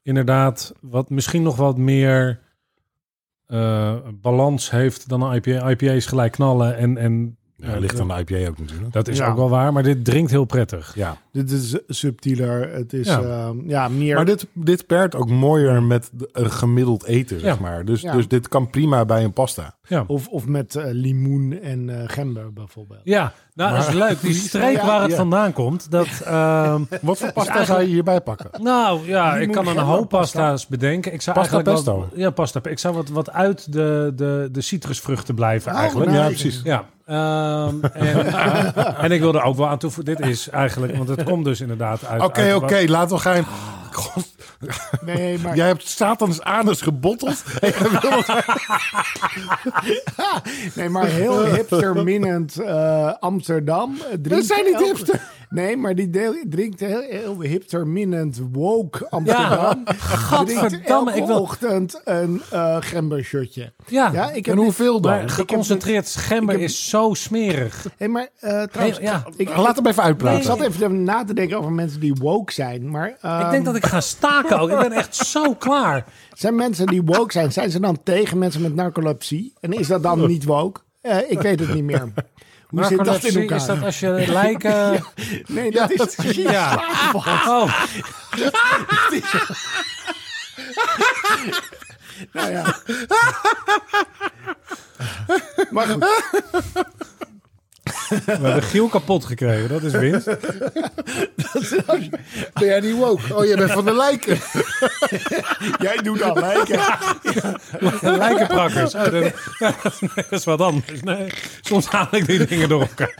[SPEAKER 2] inderdaad wat, misschien nog wat meer eh, balans heeft dan een IPA. IPA's gelijk knallen en, en
[SPEAKER 1] Ja, ligt aan de IPA ook natuurlijk.
[SPEAKER 2] dat is
[SPEAKER 3] Ja.
[SPEAKER 2] ook wel waar, maar dit drinkt heel prettig.
[SPEAKER 1] Ja.
[SPEAKER 3] Dit is subtieler. Het is
[SPEAKER 2] Ja.
[SPEAKER 3] ja, ja meer.
[SPEAKER 1] Maar dit, dit pairt ook mooier met de- een gemiddeld eten, zeg
[SPEAKER 2] Ja.
[SPEAKER 1] maar. Dus,
[SPEAKER 3] Ja.
[SPEAKER 1] dus dit kan prima bij een pasta.
[SPEAKER 3] Of, of met eh, limoen en eh gember bijvoorbeeld.
[SPEAKER 2] Ja, nou dat is leuk. Die streek
[SPEAKER 3] Ja,
[SPEAKER 2] waar het
[SPEAKER 1] ja.
[SPEAKER 2] vandaan komt, dat... ehm,
[SPEAKER 1] Wat voor pasta zou je hierbij pakken?
[SPEAKER 2] Nou ja,
[SPEAKER 3] Die
[SPEAKER 2] ik
[SPEAKER 3] moet
[SPEAKER 2] kan een
[SPEAKER 3] gember
[SPEAKER 2] hoop pasta's bedenken. Ik zou
[SPEAKER 1] Pasta
[SPEAKER 2] eigenlijk wel-
[SPEAKER 1] pesto.
[SPEAKER 2] ja, pasta. pe- Ik zou wat, wat uit de, de, de citrusvruchten blijven
[SPEAKER 3] Oh,
[SPEAKER 2] eigenlijk.
[SPEAKER 3] nou,
[SPEAKER 1] Ja,
[SPEAKER 3] ik-
[SPEAKER 1] precies.
[SPEAKER 2] Ja, ehm, en, en ik wilde ook wel aan toevoegen. Dit is eigenlijk, want het komt dus inderdaad uit.
[SPEAKER 1] Oké,
[SPEAKER 2] uit-
[SPEAKER 1] oké, laten we gaan. Ah. God,
[SPEAKER 3] Nee, maar
[SPEAKER 1] jij hebt Satans anus gebotteld.
[SPEAKER 3] Nee, maar heel hipsterminnend eh Amsterdam. eh, drinkt
[SPEAKER 1] Dat zijn niet
[SPEAKER 3] elke-
[SPEAKER 1] hipster.
[SPEAKER 3] Nee, maar die deel, drinkt heel, heel hipsterminnend woke Amsterdam. drinkt
[SPEAKER 2] gadverdamme,
[SPEAKER 3] elke
[SPEAKER 2] ik wil-
[SPEAKER 3] ochtend een eh gembershirtje.
[SPEAKER 2] Ja,
[SPEAKER 3] Ja, ik heb
[SPEAKER 1] en
[SPEAKER 3] dit-
[SPEAKER 1] hoeveel dan?
[SPEAKER 2] maar geconcentreerd schemmer is zo smerig.
[SPEAKER 3] Hey, maar eh, trouwens,
[SPEAKER 2] Heel- ja.
[SPEAKER 3] ik,
[SPEAKER 1] Laat hem even
[SPEAKER 3] ik
[SPEAKER 1] uitpraten.
[SPEAKER 3] zat even na te denken over mensen die woke zijn. Maar
[SPEAKER 2] Ik
[SPEAKER 3] ehm,
[SPEAKER 2] denk dat ik ga staken ook. Ik ben echt zo klaar.
[SPEAKER 3] zijn mensen die woke zijn, zijn ze dan tegen mensen met narcolepsie? En is dat dan niet woke? Eh, ik weet het niet meer. Hoe zit dat in
[SPEAKER 2] Narcolepsie,
[SPEAKER 3] elkaar?
[SPEAKER 2] Is dat als je lijken...
[SPEAKER 3] Nee, dat is
[SPEAKER 2] Ja. Oh,
[SPEAKER 3] Nou ja. maar goed,
[SPEAKER 2] we hebben Giel kapot gekregen. Dat is winst.
[SPEAKER 1] Ben jij niet woke? Oh, jij bent van de lijken.
[SPEAKER 3] jij doet al lijken.
[SPEAKER 2] Lijkenprakkers. Oh, dat, dat is wat anders. Nee, soms haal ik die dingen door elkaar.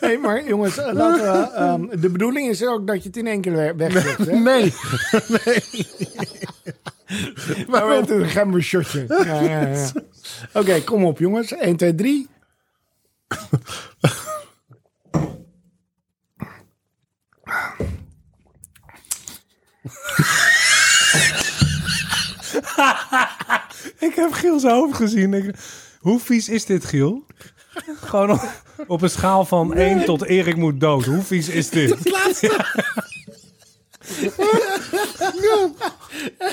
[SPEAKER 3] Nee, maar jongens, eh, laten we, ehm, de bedoeling is ook dat je het in één keer we- wegzet. hè?
[SPEAKER 1] Nee.
[SPEAKER 3] Maar met een gember shotje. Ja, ja, ja. Oké, kom op jongens. 1, 2, 3.
[SPEAKER 2] Ik heb Giel zijn hoofd gezien. Ik- hoe vies is dit, Giel? Gewoon op, op een schaal van 1 tot Erik moet dood. Hoe vies is dit?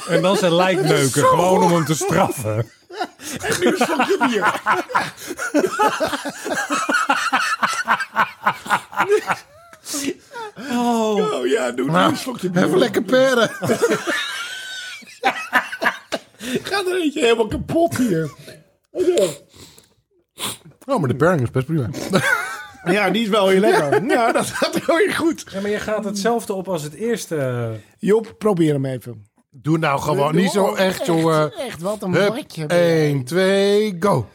[SPEAKER 2] En dan zijn lijkneuken. Gewoon om hem te straffen. Oh,
[SPEAKER 1] Oh ja, doe nou, een slokje Even lekker peren.
[SPEAKER 3] Gaat er eentje helemaal kapot hier.
[SPEAKER 1] Oh, maar de pairing is best prima.
[SPEAKER 3] Ja, die is wel heel lekker. Ja, dat gaat heel erg goed.
[SPEAKER 2] ja, maar je gaat hetzelfde op als het eerste.
[SPEAKER 3] Job, probeer hem even.
[SPEAKER 1] Doe nou gewoon niet zo
[SPEAKER 3] Oh,
[SPEAKER 1] echt, jongen.
[SPEAKER 3] Echt, wat een
[SPEAKER 1] Hup,
[SPEAKER 3] matje.
[SPEAKER 1] 1, 2, go.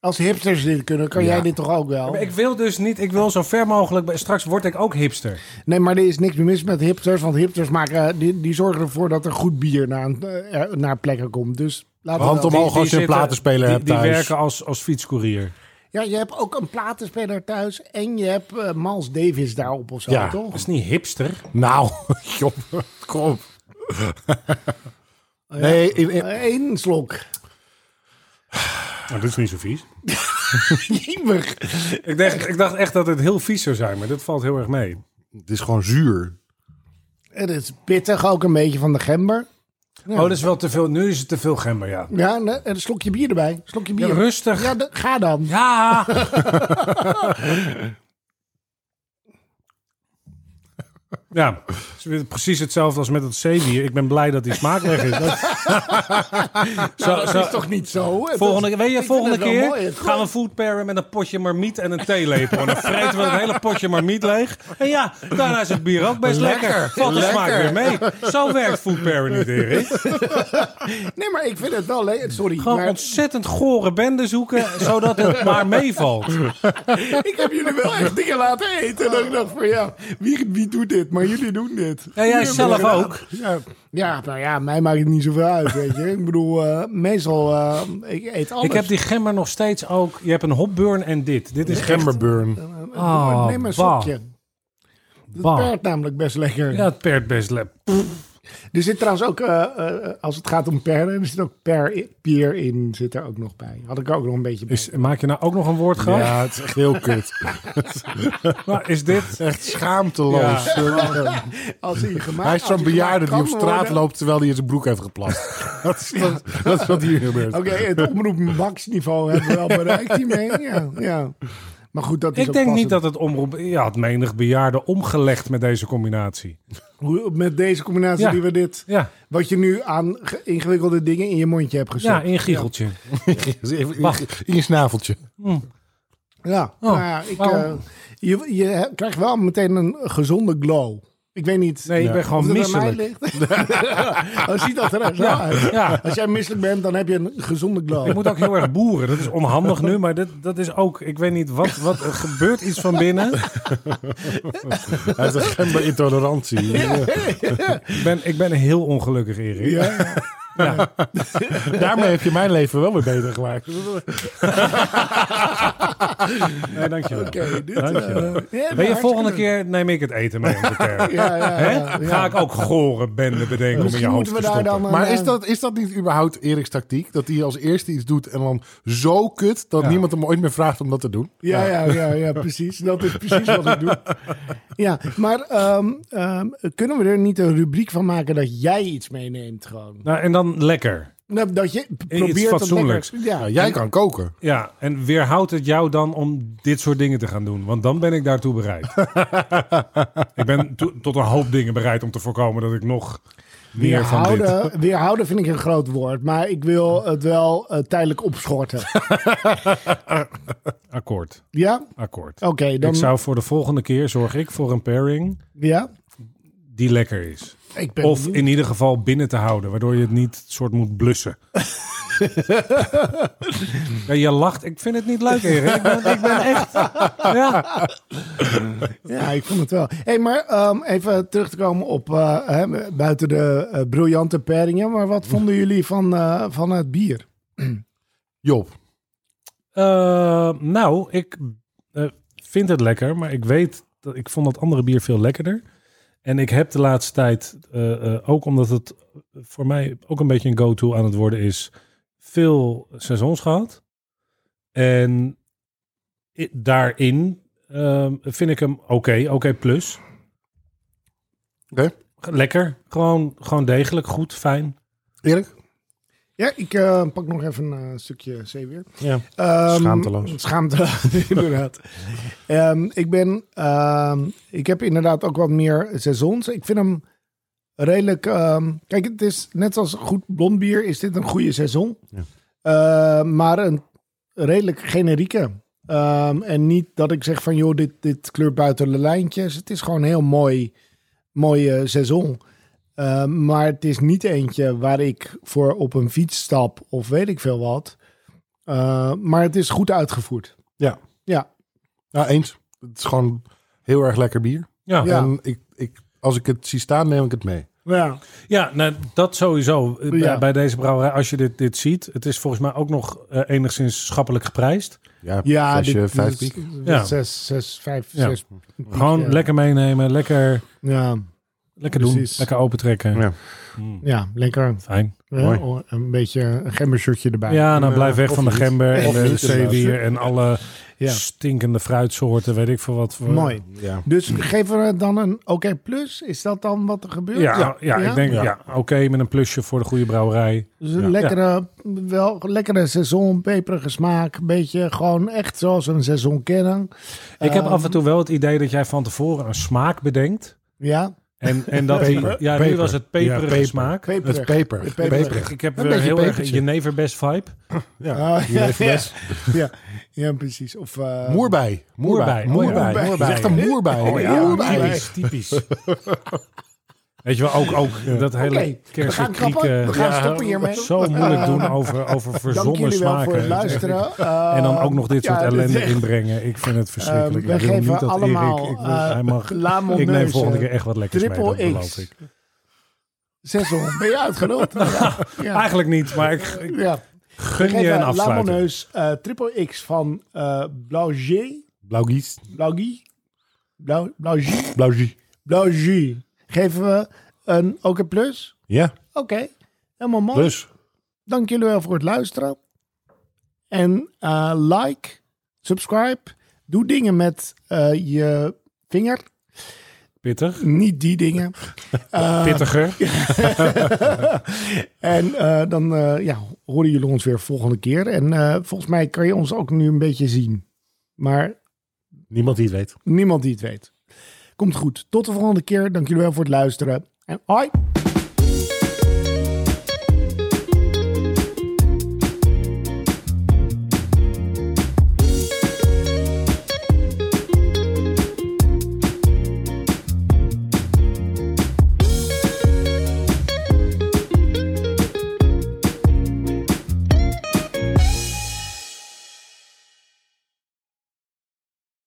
[SPEAKER 3] Als hipsters dit kunnen, kan jij dit toch ook wel?
[SPEAKER 2] Ik wil dus niet, ik wil zo ver mogelijk. bij- Straks word ik ook hipster.
[SPEAKER 3] Nee, maar er is niks mis met hipsters. Want hipsters maken, eh, die, die zorgen ervoor dat er goed bier naar, eh, er- naar plekken komt. Dus laten we
[SPEAKER 1] Hand
[SPEAKER 3] dat-
[SPEAKER 1] omhoog als je een
[SPEAKER 2] zitten-
[SPEAKER 1] platenspeler
[SPEAKER 2] die,
[SPEAKER 1] hebt
[SPEAKER 2] Die
[SPEAKER 1] thuis.
[SPEAKER 2] werken als, als fietscourier.
[SPEAKER 3] Ja, je hebt ook een platenspeler thuis. En je hebt eh, Miles Davis daarop of zo,
[SPEAKER 1] Ja.
[SPEAKER 3] toch?
[SPEAKER 2] Dat is niet hipster.
[SPEAKER 1] Nou, joh, kom op. Nee, in- in-
[SPEAKER 3] Eén Eh, slok.
[SPEAKER 2] Nou, dat is niet zo vies.
[SPEAKER 3] Jemig.
[SPEAKER 2] Ik dacht, ik dacht echt dat het heel vies zou zijn, maar dat valt heel erg mee.
[SPEAKER 1] het is gewoon zuur.
[SPEAKER 3] Het is pittig, ook een beetje van de gember.
[SPEAKER 2] Oh, dat is wel te veel. Nu is het te veel gember, ja.
[SPEAKER 3] Ja, en eh, een slokje bier erbij. Slokje bier.
[SPEAKER 2] Ja, rustig.
[SPEAKER 3] Ja, da- ga dan.
[SPEAKER 2] Ja! Ja, het is weer precies hetzelfde als met het zeewier. Ik ben blij dat die smaak weg is. Dat- Zo-
[SPEAKER 4] Nou, dat
[SPEAKER 2] zo-
[SPEAKER 4] is toch niet zo? Het
[SPEAKER 2] volgende, weet je,
[SPEAKER 4] ik vind
[SPEAKER 2] volgende
[SPEAKER 4] het wel
[SPEAKER 2] keer
[SPEAKER 4] mooi. Het
[SPEAKER 2] gaan we food pairen met een potje marmiet en een theelepel. En dan vreten we het hele potje marmiet leeg. En ja, daarna is het bier ook best lekker. Valt de smaak weer mee. Zo werkt food pairing niet, Erik.
[SPEAKER 4] is- Nee, maar ik vind het wel... le- Sorry,
[SPEAKER 2] Gewoon
[SPEAKER 4] maar
[SPEAKER 2] ontzettend gore bende zoeken, zodat het maar meevalt.
[SPEAKER 4] ik heb jullie wel echt dingen laten eten. En ik dacht van, ja, wie, wie doet dit? Maar jullie doen dit.
[SPEAKER 2] Ja, jij zelf ook.
[SPEAKER 1] Ja,
[SPEAKER 3] Ja, nou ja, mij maakt het niet zoveel uit, weet je. Ik bedoel, eh, meestal, eh, ik eet alles.
[SPEAKER 2] Ik heb die gemmer nog steeds ook. Je hebt een hopburn en dit. Dit is
[SPEAKER 1] Gemmerburn.
[SPEAKER 2] Oh,
[SPEAKER 3] Neem een
[SPEAKER 2] bah.
[SPEAKER 3] sokje. Dat
[SPEAKER 2] Bah.
[SPEAKER 3] pert namelijk best lekker.
[SPEAKER 2] Ja, het perd best lep.
[SPEAKER 3] Er zit trouwens ook, eh, eh, als het gaat om perlen, er zit ook per, i- pier in, zit er ook nog bij. Had ik er ook nog een beetje bij.
[SPEAKER 2] Is, maak je nou ook nog een woordgrap?
[SPEAKER 1] Ja, het is echt heel kut.
[SPEAKER 2] Maar is dit...
[SPEAKER 1] Echt schaamteloos.
[SPEAKER 3] Als hij gemaakt
[SPEAKER 1] Hij is
[SPEAKER 3] als
[SPEAKER 1] zo'n bejaarde die
[SPEAKER 3] gemaakt
[SPEAKER 1] op
[SPEAKER 3] kan
[SPEAKER 1] straat
[SPEAKER 3] worden-
[SPEAKER 1] loopt terwijl hij in zijn broek heeft geplast. Dat is, dat, dat is wat hier gebeurt.
[SPEAKER 3] Oké, het omroep max-niveau hebben we wel bereikt hiermee. Ja, ja. Maar goed, dat is
[SPEAKER 2] Ik
[SPEAKER 3] ook
[SPEAKER 2] denk niet
[SPEAKER 3] passend.
[SPEAKER 2] dat het omroep... Je had menig bejaarde omgelegd met deze combinatie.
[SPEAKER 3] Hoe- Met deze combinatie
[SPEAKER 2] Ja.
[SPEAKER 3] die we dit...
[SPEAKER 2] Ja,
[SPEAKER 3] Wat je nu aan ge- ingewikkelde dingen in je mondje hebt gestopt.
[SPEAKER 2] ja in giegeltje.
[SPEAKER 1] Even in- In je snaveltje.
[SPEAKER 3] Ja,
[SPEAKER 2] Oh,
[SPEAKER 3] nou ja, ik,
[SPEAKER 2] waarom?
[SPEAKER 3] eh, je, je he- krijgt wel meteen een gezonde glow. Ik weet niet
[SPEAKER 2] Nee, ik ben
[SPEAKER 3] of
[SPEAKER 2] gewoon
[SPEAKER 3] het aan mij
[SPEAKER 2] misselijk.
[SPEAKER 3] ligt. Dan ziet dat er echt zo uit.
[SPEAKER 2] Ja,
[SPEAKER 3] Als jij misselijk bent, dan heb je een gezonde glow.
[SPEAKER 2] ik moet ook heel erg boeren. Dat is onhandig nu, maar dit, dat is ook... Ik weet niet, wat, wat er gebeurt iets van binnen?
[SPEAKER 1] Hij heeft een gemberintolerantie.
[SPEAKER 2] Ik ben, ik ben heel ongelukkig, Erik.
[SPEAKER 3] Ja, ja.
[SPEAKER 2] Ja.
[SPEAKER 1] Daarmee heb je mijn leven wel weer beter gemaakt.
[SPEAKER 2] Nee, dankjewel.
[SPEAKER 3] Oké, dit,
[SPEAKER 2] Dankjewel.
[SPEAKER 3] eh, ja,
[SPEAKER 2] Ben je
[SPEAKER 3] maar
[SPEAKER 2] volgende
[SPEAKER 3] hartstikke
[SPEAKER 2] keer neem ik het eten mee om te
[SPEAKER 3] leuk.
[SPEAKER 2] kerk.
[SPEAKER 3] Ja, ja,
[SPEAKER 2] Hè?
[SPEAKER 3] ja, ja.
[SPEAKER 2] Ga ik ook gore bende bedenken om in je
[SPEAKER 3] Misschien
[SPEAKER 2] hoofd
[SPEAKER 3] moeten
[SPEAKER 2] te
[SPEAKER 3] we daar
[SPEAKER 2] stoppen.
[SPEAKER 3] dan... een,
[SPEAKER 1] Maar is
[SPEAKER 3] eh,
[SPEAKER 1] dat, is dat niet überhaupt Erik's tactiek? Dat hij als eerste iets doet en dan zo kut dat
[SPEAKER 2] Ja.
[SPEAKER 1] niemand hem ooit meer vraagt om dat te doen?
[SPEAKER 3] Ja, ja, ja, ja, precies. Dat is precies wat ik doe. Ja, maar ehm, ehm, kunnen we er niet een rubriek van maken dat jij iets meeneemt gewoon?
[SPEAKER 2] Nou, en dan lekker.
[SPEAKER 3] Nou, Dat je p- probeert
[SPEAKER 2] Iets
[SPEAKER 3] dat
[SPEAKER 2] fatsoenlijks.
[SPEAKER 3] lekker- Ja,
[SPEAKER 1] Nou, jij kan koken.
[SPEAKER 2] Ja, en weerhoudt het jou dan om dit soort dingen te gaan doen? Want dan ben ik daartoe bereid. ik ben to- tot een hoop dingen bereid om te voorkomen dat ik nog meer van dit...
[SPEAKER 3] Weerhouden, weerhouden vind ik een groot woord, maar ik wil het wel eh, tijdelijk opschorten.
[SPEAKER 2] Akkoord,
[SPEAKER 3] Ja?
[SPEAKER 2] akkoord.
[SPEAKER 3] Oké, dan.
[SPEAKER 2] Ik zou voor de volgende keer zorg ik voor een pairing
[SPEAKER 3] Ja?
[SPEAKER 2] die lekker is.
[SPEAKER 3] Ik ben
[SPEAKER 2] Of
[SPEAKER 3] benieuwd.
[SPEAKER 2] in ieder geval binnen te houden, waardoor je het niet soort moet blussen. ja, je lacht. Ik vind het niet leuk, Erik. Ik ben, ik ben echt... Ja.
[SPEAKER 3] Ja, ik vond het wel. hey, maar ehm, even terug te komen op eh, hè, buiten de eh, briljante pairingen. Maar wat vonden jullie van, eh, van het bier?
[SPEAKER 1] Job,
[SPEAKER 2] Eh, nou, ik eh, vind het lekker, maar ik weet... Dat, ik vond dat andere bier veel lekkerder. En ik heb de laatste tijd, eh, eh, ook omdat het voor mij ook een beetje een go-to aan het worden is... veel seizoens gehad. En i- daarin ehm, vind ik hem oké, oké plus.
[SPEAKER 1] Oké.
[SPEAKER 2] Lekker, gewoon, gewoon degelijk, goed, fijn.
[SPEAKER 1] Erik?
[SPEAKER 3] Ja, ik eh, pak nog even een eh, stukje zeewier.
[SPEAKER 1] Ja.
[SPEAKER 3] Ehm,
[SPEAKER 1] Schaamteloos.
[SPEAKER 3] Schaamteloos, inderdaad. Ehm, ik ben... ehm, ik heb inderdaad ook wat meer seizoens. Ik vind hem redelijk... ehm, kijk, het is net als goed blond bier is dit een goede seizoen.
[SPEAKER 1] Ja.
[SPEAKER 3] Ehm, maar een redelijk generieke. Ehm, en niet dat ik zeg van, joh, dit, dit kleurt buiten de lijntjes. Het is gewoon een heel mooi, mooie seizoen. Ehm, maar het is niet eentje waar ik voor op een fiets stap of weet ik veel wat. Eh, maar het is goed uitgevoerd.
[SPEAKER 1] Ja.
[SPEAKER 3] Ja.
[SPEAKER 1] Ja, eens. Het is gewoon heel erg lekker bier.
[SPEAKER 2] Ja,
[SPEAKER 3] Ja.
[SPEAKER 1] En ik, ik, als ik het zie staan, neem ik het mee.
[SPEAKER 3] Ja.
[SPEAKER 2] Ja, nou, dat sowieso. Eh, bij-
[SPEAKER 3] Ja.
[SPEAKER 2] Bij deze brouwerij, als je dit, dit ziet, het is volgens mij ook nog eh, enigszins schappelijk geprijsd.
[SPEAKER 1] Ja,
[SPEAKER 3] Ja,
[SPEAKER 1] flesje
[SPEAKER 3] dit-
[SPEAKER 1] eh, vijf
[SPEAKER 3] dit is-
[SPEAKER 1] piek.
[SPEAKER 2] Ja.
[SPEAKER 3] Zes, zes, vijf,
[SPEAKER 2] Ja.
[SPEAKER 3] zes. piek,
[SPEAKER 2] Gewoon
[SPEAKER 1] eh,
[SPEAKER 3] ja.
[SPEAKER 2] lekker meenemen, lekker,
[SPEAKER 3] Ja,
[SPEAKER 2] lekker
[SPEAKER 3] Precies.
[SPEAKER 2] doen, lekker opentrekken.
[SPEAKER 1] Ja.
[SPEAKER 2] Mm,
[SPEAKER 3] ja lekker.
[SPEAKER 2] Fijn.
[SPEAKER 3] Ja,
[SPEAKER 1] Mooi.
[SPEAKER 3] oh, een beetje een gembershirtje erbij.
[SPEAKER 2] Ja, nou
[SPEAKER 1] Ja, eh,
[SPEAKER 2] blijf weg
[SPEAKER 1] of
[SPEAKER 2] van de
[SPEAKER 1] niet.
[SPEAKER 2] gember en
[SPEAKER 1] Of
[SPEAKER 2] de
[SPEAKER 1] niet,
[SPEAKER 2] zeewier en alle
[SPEAKER 3] Ja.
[SPEAKER 2] stinkende fruitsoorten, weet ik veel wat. Voor.
[SPEAKER 3] Mooi.
[SPEAKER 1] Ja.
[SPEAKER 3] Dus geven we het dan een oké plus? Is dat dan wat er gebeurt?
[SPEAKER 2] Ja, ja, ik denk
[SPEAKER 1] Ja.
[SPEAKER 2] ja. oké, met een plusje voor de goede brouwerij.
[SPEAKER 3] Dus een
[SPEAKER 1] Ja.
[SPEAKER 3] lekkere, wel lekkere seizoen, peperige smaak. Een beetje gewoon echt zoals we een seizoen kennen.
[SPEAKER 2] Ik heb
[SPEAKER 3] Ehm,
[SPEAKER 2] af en toe wel het idee dat jij van tevoren een smaak bedenkt.
[SPEAKER 3] Ja,
[SPEAKER 2] En, en dat die,
[SPEAKER 1] Peper.
[SPEAKER 2] ja, nu
[SPEAKER 1] Peper.
[SPEAKER 2] was het peperige
[SPEAKER 1] Ja, peper.
[SPEAKER 2] smaak.
[SPEAKER 1] Het is
[SPEAKER 3] peperig.
[SPEAKER 1] peper.
[SPEAKER 3] Het peperig.
[SPEAKER 1] Peperig.
[SPEAKER 2] Ik heb
[SPEAKER 1] Een
[SPEAKER 2] weer
[SPEAKER 1] beetje
[SPEAKER 2] heel erg een
[SPEAKER 1] pepertje.
[SPEAKER 2] Jeneverbest vibe.
[SPEAKER 1] Ja.
[SPEAKER 3] Ah,
[SPEAKER 1] Die heeft
[SPEAKER 3] ja, ja.
[SPEAKER 1] best-
[SPEAKER 3] Ja, ja, precies. Of, eh,
[SPEAKER 1] Moerbei. Moerbei.
[SPEAKER 2] Moerbei.
[SPEAKER 1] Moerbei.
[SPEAKER 2] Oh, ja.
[SPEAKER 1] Het is echt een moerbei.
[SPEAKER 3] Oh, ja.
[SPEAKER 1] Moerbei.
[SPEAKER 2] Typisch, typisch. Weet je wel, ook, ook dat hele
[SPEAKER 3] Oké, we gaan kappen. We
[SPEAKER 2] kersenkrieken
[SPEAKER 3] gaan stoppen hiermee.
[SPEAKER 2] zo moeilijk doen over, over
[SPEAKER 3] Dank
[SPEAKER 2] verzonnen
[SPEAKER 3] jullie wel
[SPEAKER 2] smaken.
[SPEAKER 3] voor het luisteren. Eh,
[SPEAKER 2] En dan ook nog dit
[SPEAKER 3] ja,
[SPEAKER 2] soort
[SPEAKER 3] dit is
[SPEAKER 2] ellende
[SPEAKER 3] echt- ehm,
[SPEAKER 2] inbrengen. Ik vind het verschrikkelijk.
[SPEAKER 3] we
[SPEAKER 2] Ik wil
[SPEAKER 3] geven
[SPEAKER 2] niet dat
[SPEAKER 3] allemaal,
[SPEAKER 2] Erik, ik, wil-
[SPEAKER 3] eh,
[SPEAKER 2] hij mag,
[SPEAKER 3] La
[SPEAKER 2] ik neem
[SPEAKER 3] Mondeuse.
[SPEAKER 2] volgende keer echt wat lekkers mee, dat
[SPEAKER 3] Triple
[SPEAKER 2] beloof
[SPEAKER 3] X.
[SPEAKER 2] ik.
[SPEAKER 3] Zesel, ben je uitgenodigd? Ja. ja.
[SPEAKER 2] Eigenlijk niet, maar ik, ik
[SPEAKER 3] ja.
[SPEAKER 2] gun je een
[SPEAKER 3] Geef La
[SPEAKER 2] afsluiting.
[SPEAKER 3] Moneus eh, triple X van eh Blaugier.
[SPEAKER 1] Blauwgies.
[SPEAKER 3] Blaugie. Blau, Blaugie.
[SPEAKER 1] Blauwgie.
[SPEAKER 3] Blaugie. Geven we een, ook een plus?
[SPEAKER 1] Ja,
[SPEAKER 3] Oké. Helemaal mooi.
[SPEAKER 1] dus.
[SPEAKER 3] Dank jullie wel voor het luisteren. En eh, like, subscribe. Doe dingen met eh, je vinger.
[SPEAKER 2] Pittig.
[SPEAKER 3] Niet die dingen. Eh,
[SPEAKER 2] Pittiger.
[SPEAKER 3] En eh, dan eh, ja, horen jullie ons weer volgende keer. En eh, volgens mij kan je ons ook nu een beetje zien. Maar
[SPEAKER 1] Niemand die het weet.
[SPEAKER 3] niemand die het weet. Komt goed. Tot de volgende keer. Dank jullie wel voor het luisteren. En hoi!